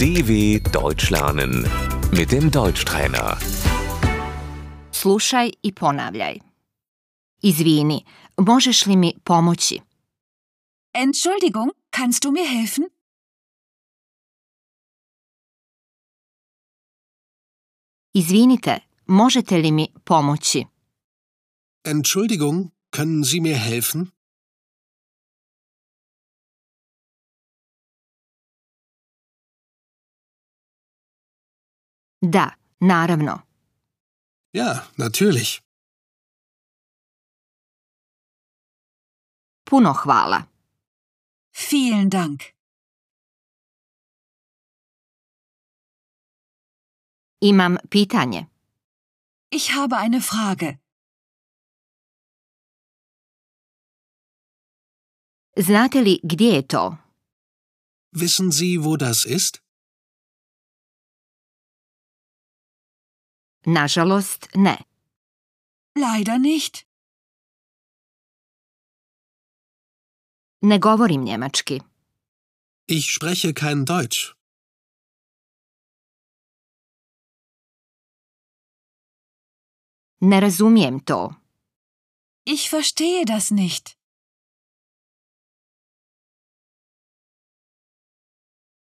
DW Deutsch lernen mit dem Deutschtrainer. Slušaj i ponavljaj. Izvini, možeš li mi pomoći? Entschuldigung, kannst du mir helfen? Izvinite, možete li mi pomoći? Entschuldigung, können Sie mir helfen? Da, naravno. Ja, natürlich. Puno hvala. Vielen Dank. Imam pitanje. Ich habe eine Frage. Znate li gdje je to? Wissen Sie, wo das ist? Nažalost, ne. Leider nicht. Ne govorim njemački. Ich spreche kein Deutsch. Ne razumijem to. Ich verstehe das nicht.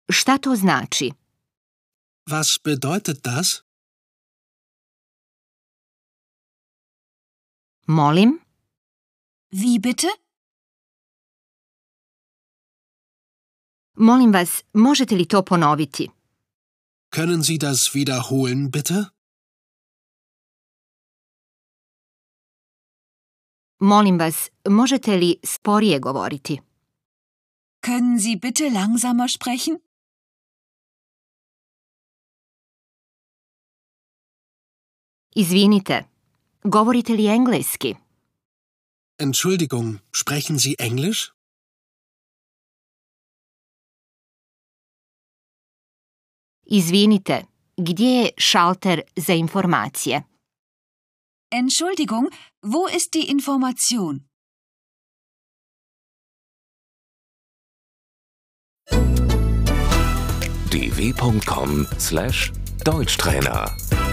Šta to znači? Was bedeutet das? Molim, Wie bitte? molim vas, možete li to ponoviti? Können Sie das wiederholen, bitte? Molim vas, možete li sporije govoriti? Können Sie bitte langsamer sprechen? Izvinite, govorite li engleski? Entschuldigung, sprechen Sie Englisch? Izvinite, gdje je šalter za informacije? Entschuldigung, wo ist die Information? dw.com/deutschtrainer